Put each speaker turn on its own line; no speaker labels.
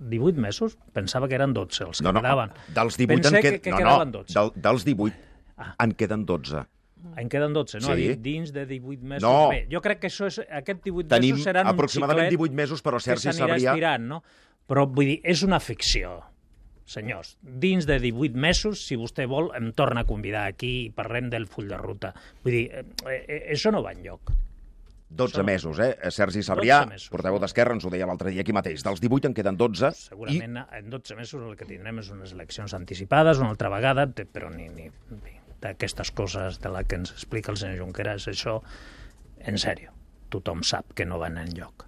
18 mesos? Pensava que eren 12 els que
No, no,
quedaven.
dels 18
Pensé
en
que,
qued-
que
no, no,
quedaven Ah. 12.
del, dels 18 en queden 12.
En queden 12, no?
Sí.
Ha dit dins de 18 mesos.
No.
Bé, jo crec que això és, aquest 18
Tenim
mesos seran
aproximadament
un xiclet
18 mesos, però Sergi
que s'anirà
Sabrià...
estirant, no? Però vull dir, és una ficció. Senyors, dins de 18 mesos, si vostè vol, em torna a convidar aquí i parlem del full de ruta. Vull dir, eh, eh, això no va enlloc.
12
Són-
mesos, eh? Sergi Sabrià,
12 mesos.
portaveu d'Esquerra, ens ho deia l'altre dia aquí mateix. Dels 18 en queden 12 i
Segurament en 12 mesos el que tindrem és unes eleccions anticipades una altra vegada, té- però ni, ni en fi, d'aquestes coses de la que ens explica el senyor Junqueras, això, en sèrio, tothom sap que no van enlloc.